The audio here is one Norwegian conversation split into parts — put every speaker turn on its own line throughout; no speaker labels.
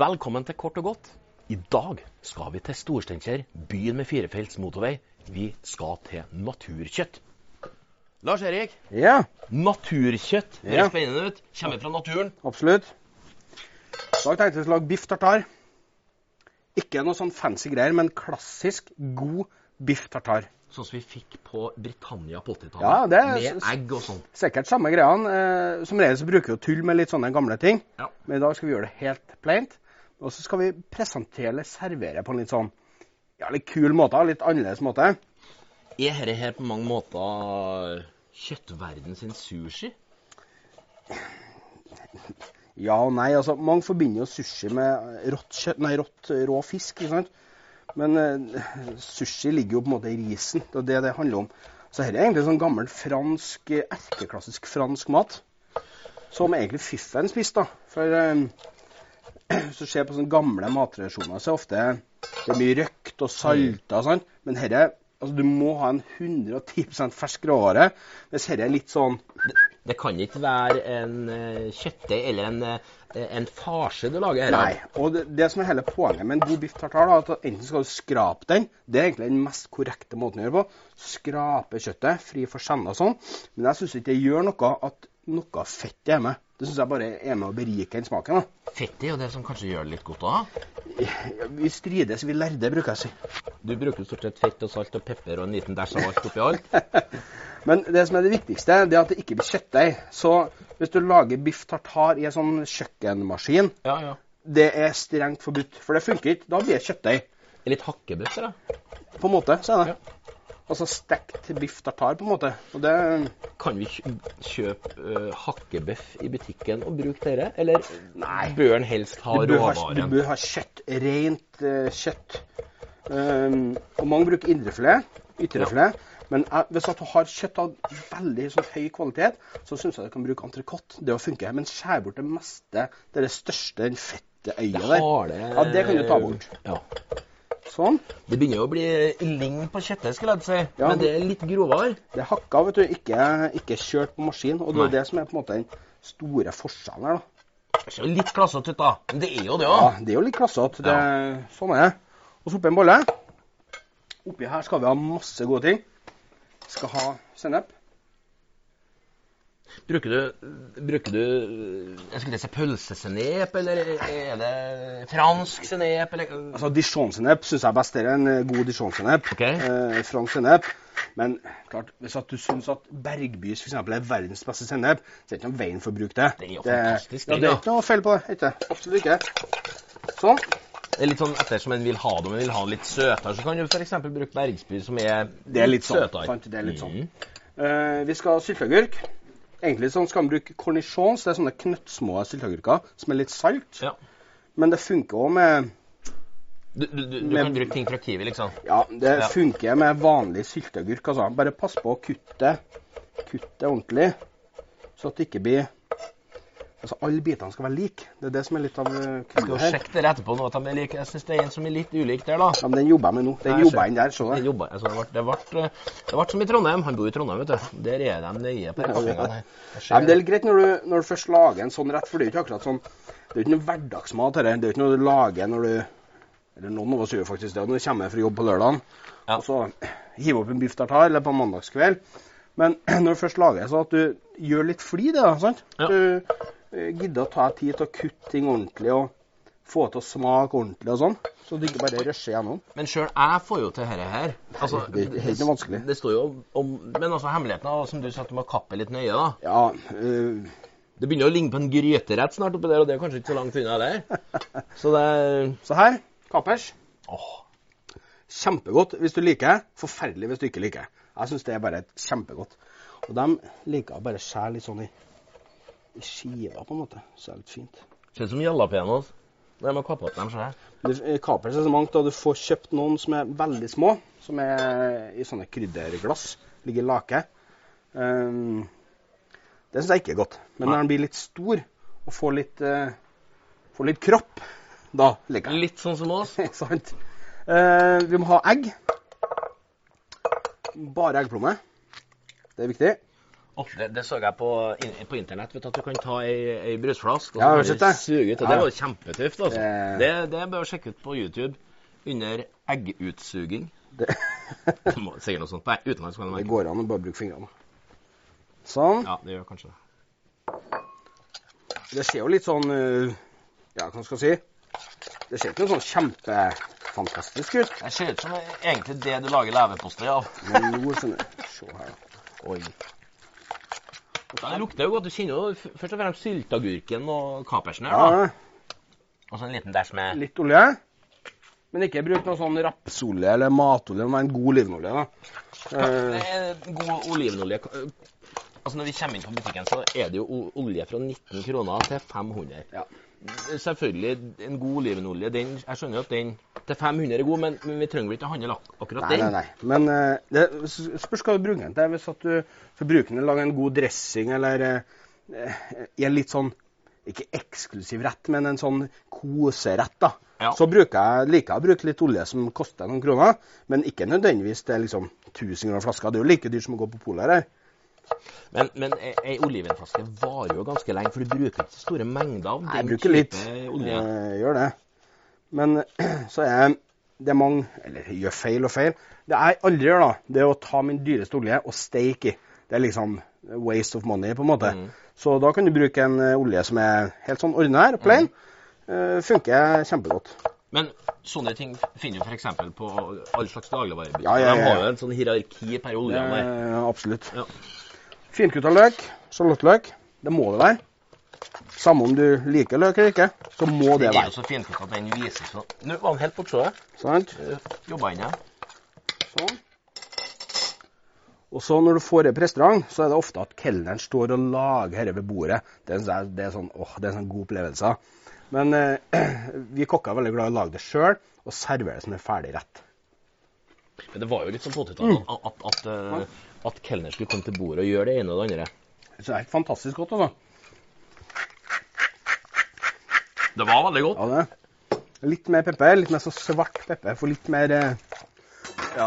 Velkommen til Kort og godt. I dag skal vi til Storsteinkjer, byen med firefelts motorvei. Vi skal til naturkjøtt. Lars Erik,
Ja,
naturkjøtt høres
Ja.
spennende ut. Kommer fra naturen.
absolutt. I dag tenkte jeg å lage biff tartar. Ikke noe sånn fancy greier, men klassisk god biff tartar.
Sånn som vi fikk på Britannia på 80-tallet.
Ja, det er-
Med egg og sånt.
Sikkert samme greiene. Eh, som regel så bruker vi å tulle med litt sånne gamle ting.
Ja.
Men i dag skal vi gjøre det helt plaint. Og så skal vi presentere eller servere på en litt sånn ja, litt kul måte. Litt annerledes måte.
Er dette her på mange måter kjøttverden sin sushi?
Ja og nei. altså, Mange forbinder jo sushi med rått kjøtt, nei, rått eh, rå fisk. ikke sant? Men eh, sushi ligger jo på en måte i risen. Det er det det handler om. Så dette er egentlig sånn gammel fransk, eh, erkeklassisk fransk mat. Som egentlig fiffen spiste, da. For eh, hvis du ser på sånne gamle mattradisjoner, så er ofte det er mye røkt og salta og sånn. Men herre, altså, du må ha en 110 fersk råvare. Hvis herre er litt sånn
Det kan ikke være en eh, kjøttdeig eller en, eh, en farse du lager her.
Nei. Og det, det som er hele poenget med en god biff tartar, da, er at enten skal du skrape den, det er egentlig den mest korrekte måten å gjøre på, skrape kjøttet, fri for skjenner og sånn, men jeg syns ikke det gjør noe at noe fett er med. Det syns jeg bare er med å berike den smaken. da.
Fett er jo det som kanskje gjør det litt godt òg.
Ja, Vi strides, vi lærde, bruker jeg å si.
Du bruker jo stort sett fett og salt og pepper og en liten dæsj av alt oppi alt.
Men det som er det viktigste, det er at det ikke blir kjøttdeig. Så hvis du lager biff tartar i en sånn kjøkkenmaskin,
Ja, ja.
det er strengt forbudt. For det funker ikke. Da blir det kjøttdeig.
Litt hakkebøtter, da.
På en måte, så er det. Altså stekt biff tartar, på en måte. Og det
Kan vi kjø- kjøpe eh, hakkebøff i butikken og bruke dere? Eller
Nei.
bør en helst ha
du bør ha, du
råvaren?
bør ha kjøtt. Rent eh, kjøtt. Ehm, og mange bruker indrefilet, ytrefilet. Men jeg- hvis at du har kjøtt av veldig sånn, høy kvalitet, så syns jeg du kan bruke entrecôte. Det å funke. Men skjær bort det meste, det er det største, den fette øyet der.
Harde-
Ja, det kan du ta bort.
Ja.
Sånn.
Det begynner jo å bli lign på kjøttet, skulle jeg til å si.
Ja.
Men det er litt grovere.
Det er hakka, vet du. Ikke, ikke kjørt på maskin. Og det er
Nei.
jo det som er på en måte den store forskjellen her, da.
Det ser jo litt klassete ut, da. Men det er jo det
Ja,
òg.
det er jo litt klassete. Det, Sånn er det. Og så oppi en bolle. Oppi her skal vi ha masse gode ting. Skal ha sennep.
Bruker du, bruker du øh, jeg skulle si pølsesennep, eller er det fransk sennep, eller
Altså Dijon-sennep syns jeg er best. Det er en eh, god dijon-sennep.
Ok.
Eh, fransk sennep. Men klart, hvis at du syns at Bergbys for eksempel, er verdens beste sennep, så er det ikke noen veien for å bruke det.
Det er jo fantastisk,
Ja,
det,
det er
da.
ikke noe feil på det. Ikke. Absolutt ikke. Sånn.
Det er litt sånn ettersom en vil ha det, om en vil ha det litt søtere, så kan du f.eks. bruke bergspyr, som er,
Det er litt sånn.
søtere.
Sant? Det er litt sånn.
Mhm.
Eh, vi skal ha sylteagurk. Egentlig sånn skal man bruke cornichons. Det er sånne knøttsmå sylteagurker som er litt salt.
Ja.
Men det funker òg med
Du, du, du, du
Men-
kan bruke ting fra Kiwi, liksom.
Ja, det
Ja.
funker med vanlig sylteagurk. Altså. Bare pass på å kutte kutte ordentlig, så at det ikke blir Altså, alle bitene skal være like. Det er det som er litt av eh,
Du må
clouet her.
sjekke dere etterpå nå at de er like. Jeg syns det er en som er litt ulik der, da.
Ja, men den jobber jeg med nå. Den
Nei, jeg
jobber
ser-
inn der, så
Det
du.
jobba, altså, det, ble, det, ble, det ble som i Trondheim. Han bor i Trondheim, vet du. Der er de nøye på disse tingene her. Jeg ser
Ja, men det er litt greit når du, når du først lager en sånn rett, for det er jo ikke akkurat sånn Det er jo ikke noe hverdagsmat, dette. Det er jo ikke noe du lager når du Eller noen av oss gjør faktisk det når du kommer fra jobb på lørdagen.
Ja.
Og så hive opp en biff tartar eller på en mandagskveld. Men når du først lager, så at du gjør litt fli, det, da, sant?
Ja.
Du eh, gidder å ta deg tid til å kutte ting ordentlig og få til å smake ordentlig og sånn. Så du ikke bare rusher gjennom.
Men sjøl jeg får jo til dette her. Altså,
Det er helt vanskelig.
Det står jo om Men altså, hemmeligheten er, som du sa, at du må kappe litt nøye, da.
Ja, eh,
Det begynner å ligne på en gryterett snart oppi der, og det er kanskje ikke så langt unna der. Så det er
så her. Kapers.
Åh.
Kjempegodt hvis du liker. Forferdelig hvis du ikke liker. Jeg syns det er bare kjempegodt. Og de liker å bare skjære litt sånn i, i skiver, på en måte. Så det er litt fint.
Ser ut som altså. jalapeños. De har kappet opp dem sjøl.
Det er eh, kapers er så mangt, og du får kjøpt noen som er veldig små, som er i sånne krydderglass, ligger i lake. Ehm, Det syns jeg ikke er godt.
Nei.
Men når den blir litt stor og får litt, eh, får litt kropp, da liker jeg
Litt sånn som oss.
den. Sant? Eh, vi må ha egg. Bare eggplomme. Det er viktig.
Å, det, det så jeg på, in- på internett, vet du, at du kan ta ei, ei brusflaske og så
Ja, jeg har
bare
sett det.
suge ut. Og
Ja,
det
ja.
var kjempetøft, altså.
Det-
Det, det bør du sjekke ut på YouTube under 'eggsutsuging'.
Det,
Det må- Sier noe sånt på utenlandsk. kan jeg
det
merke.
går an å bare bruke fingrene. Sånn.
Ja, det gjør kanskje det.
Det ser jo litt sånn eh, Ja, hva skal jeg si? Det ser ikke noe sånn kjempefantastisk ut.
Det ser ut som egentlig det du lager leverpostei av.
Men nå skjønner du. Se her, da.
Oi. Ja, det lukter jo godt. Du kjenner jo f- først og fremst sylteagurken og kapersen her.
Ja,
da.
ja.
Og så en liten dæsj med
Litt olje. Men ikke bruk noe sånn rapsolje eller matolje, men en god olivenolje. da.
Det
Eh,
er God olivenolje. Altså Når vi kommer inn på butikken, så er det jo o- olje fra 19 kroner til 500.
Ja.
Selvfølgelig, en god olivenolje den, Jeg skjønner jo at den til 500 er god, men, men vi trenger vel ikke å handle ak- akkurat
nei,
den.
nei, nei. Men eh, det s- spørs hva du bruker den til. Hvis at du skal bruke den til å lage en god dressing eller eh, i en litt sånn ikke eksklusiv rett, men en sånn koserett, da.
Ja.
Så bruker jeg, liker jeg å bruke litt olje som koster noen kroner, men ikke nødvendigvis til liksom 1000 kroner flaska. Det er jo like dyrt som å gå på polet her.
Men, men ei- ei olivenflaske varer jo ganske lenge, for du bruker ikke så store mengder av
Nei, jeg
den
bruker litt.
olje.
Eh, gjør det. Men så er det er mange Eller gjør feil og feil. Det jeg aldri gjør, da, det er å ta min dyreste olje og steike i. Det er liksom waste of money, på en måte.
Mm.
Så da kan du bruke en eh, olje som er helt sånn ordinær,
Mm.
plain. Eh, funker kjempegodt.
Men sånne ting finner du f.eks. på all slags dagligvarebutikker.
Ja, Eh, ja, ja.
De har jo en sånn hierarki per
Det
olje.
er,
der.
absolutt.
Ja.
Finkutta løk, sjalottløk, det må det være. Samme om du liker løk eller ikke, så må
Det
det
er jo
være.
så finfint at den vises sånn. Nå var han helt bortse. Eh,
Sant?
Jobba han igjen?
Sånn. Og så når du får det på restaurant, så er det ofte at kelneren står og lager dette ved bordet. Det er, det er, sånn, åh, det er en sånn god opplevelse. Men eh, vi kokker er veldig glad i å lage det sjøl, og servere det som en ferdigrett.
Men det var jo litt sånn på 80-tallet at, at, at, eh, at kelner skulle komme til bordet og gjøre det ene og det andre.
Så det er helt fantastisk godt, altså.
Det var veldig godt.
Ja, det. er. Litt mer pepper, litt mer sånn svart pepper, for litt mer eh, ja.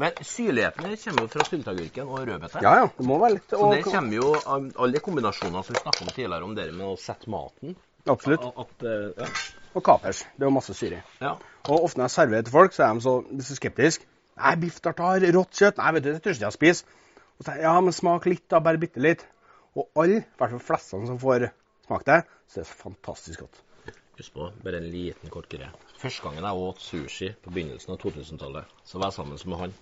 Men syrligheten her kommer jo fra sylteagurken og rødbeter.
ja, ja. Det må være litt
Så det kommer jo um, alle de kombinasjonene som vi snakket om tidligere, om det med å sette maten.
Absolutt.
At, at, eh,
Og kapers. Det er jo masse syre i.
ja. ja.
Og ofte når jeg serverer til folk, så er de så, så skeptiske. Nei, biff tartar, rått kjøtt. Nei, vet du, det tør ikke jeg spise. Og så, sier jeg, ja, men smak litt, da. Bare bitte litt. Og alle, i hvert fall flestene som får smake det, så er det så fantastisk godt.
Husk på, bare en liten kort greie. Første gangen jeg åt sushi på begynnelsen av 2000-tallet, så var jeg sammen med han.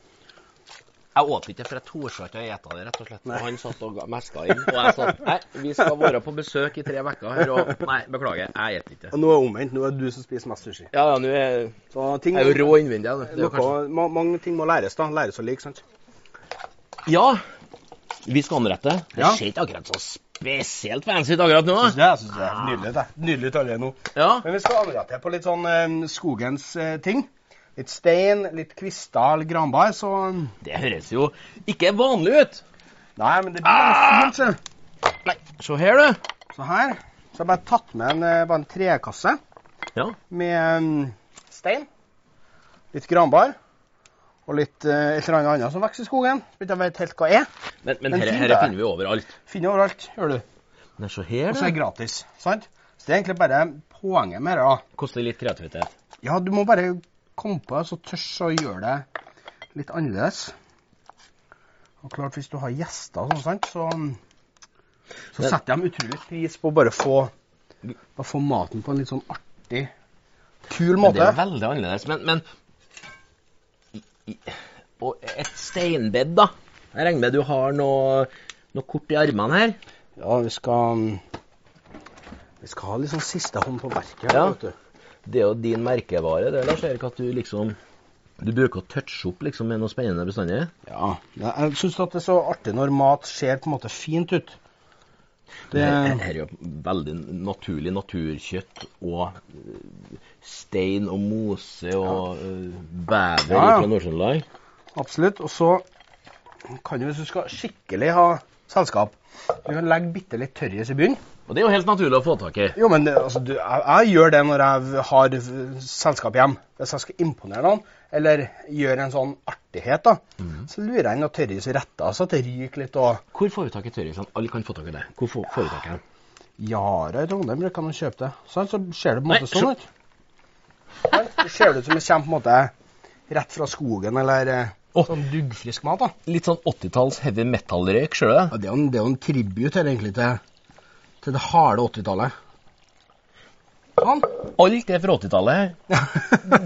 Jeg åt ikke, for jeg torde ikke å ete det, rett og slett. Og han satt og ga- meska inn. Og jeg sa nei, vi skal være på besøk i tre uker her, og nei, beklager, jeg spiser ikke.
Og nå er det omvendt. Nå er det du som spiser mest sushi.
Ja, ja, nå er
Så ting,
jeg er jo rå innvendig. jeg, nå. Det er jo
noe, ma mange ting må læres, da. Læres å like, sant?
kanskje- Ja, vi skal anrette. Det
Ja.
ser ikke akkurat så spesielt fancy ut akkurat nå. da.
Jeg syns det er nydelig. Det. Nydelig ut allerede nå.
Ja.
Men vi skal anrette på litt sånn eh, skogens eh, ting. Litt stein, litt kvister, litt granbar, så eh,
Det høres jo ikke vanlig ut.
Nei, men det blir ah! fint, ser du.
Nei, se her, du.
Så her så har jeg bare tatt med en, eh, bare en trekasse
Ja.
med mm, stein, litt granbar og litt eh, et eller annet annet som vokser i skogen. som ikke jeg vet helt hva er.
Men, men
Men
her,
fint,
her
det.
finner vi overalt.
Finner overalt, gjør du.
Men se her,
Og så er det
du.
gratis. sant? Så det er egentlig bare poenget med det. da.
Koster litt kreativitet.
Ja, du må bare komme på det, så tørs å gjøre det litt annerledes. Og klart, hvis du har gjester og sånn, sant, så, um, så
Men-
setter de utrolig pris på å bare få, bare få maten på en litt sånn artig, kul
Men det
måte.
er jo veldig annerledes. Men, men i- i- Og et steinbed, da. Jeg regner med du har noe, noe kort i armene her.
Ja, vi skal um, Vi skal ha litt sånn siste hånd på verket.
Ja.
vet du.
Det er jo din merkevare, det, Lars Erik, at du liksom Du bruker å touche opp liksom med noe spennende bestandig.
ja. Jeg jeg syns at det er så artig når mat ser på en måte fint ut. Det,
Her, her er jo veldig naturlig naturkjøtt og øh, stein og mose og øh, bever
Ja, ja.
fra Nord-Trøndelag.
absolutt. Og så kan du, hvis du skal skikkelig ha selskap. Du kan legge bitte litt tørris i bunnen.
Og det er jo helt naturlig å få tak i.
Jo, men det, altså, du, jeg, jeg gjør det når jeg har eh, selskap hjem. Hvis jeg skal imponere noen, eller gjøre en sånn artighet, da, så lurer jeg inn noe tørris i retta, så at det ryker litt. og...
Hvor får vi tak i tørrisen? Alle kan få tak i det. Hvor får, får vi tak i den?
Yara i Trondheim det kan man kjøpe det. Sånn, så ser det på en
Nei,
måte sånn ut. Sånn, så ser det ut som det kommer på en måte rett fra skogen eller eh,
Å.
sånn duggfrisk mat. da.
Litt sånn 80-talls heavy metal-røyk, ser du det?
Ja, det, er jo en, det er jo en tribut her egentlig til, til det harde 80-tallet. Sånn.
Alt er fra 80-tallet her.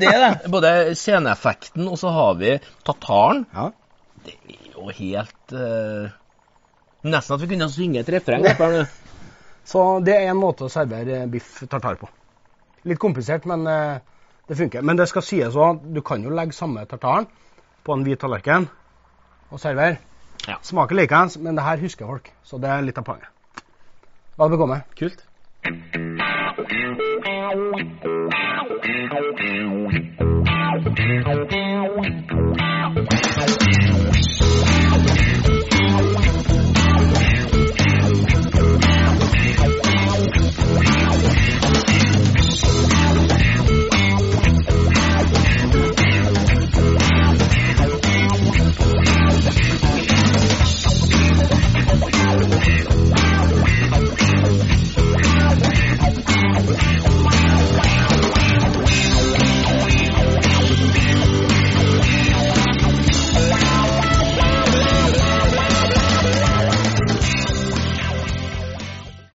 Det er det. Både sceneeffekten, og så har vi tataren.
Ja.
Det er jo helt eh, Nesten at vi kunne synge et refreng. opp her nå.
Så det er en måte å servere eh, biff tartar på. Litt komplisert, men eh, det funker. Men det skal sies òg, du kan jo legge samme tartaren på en hvit tallerken og servere.
Ja.
Smaker likeens, men det her husker folk, så det er litt av poenget. Hva det bekomme?
Kult.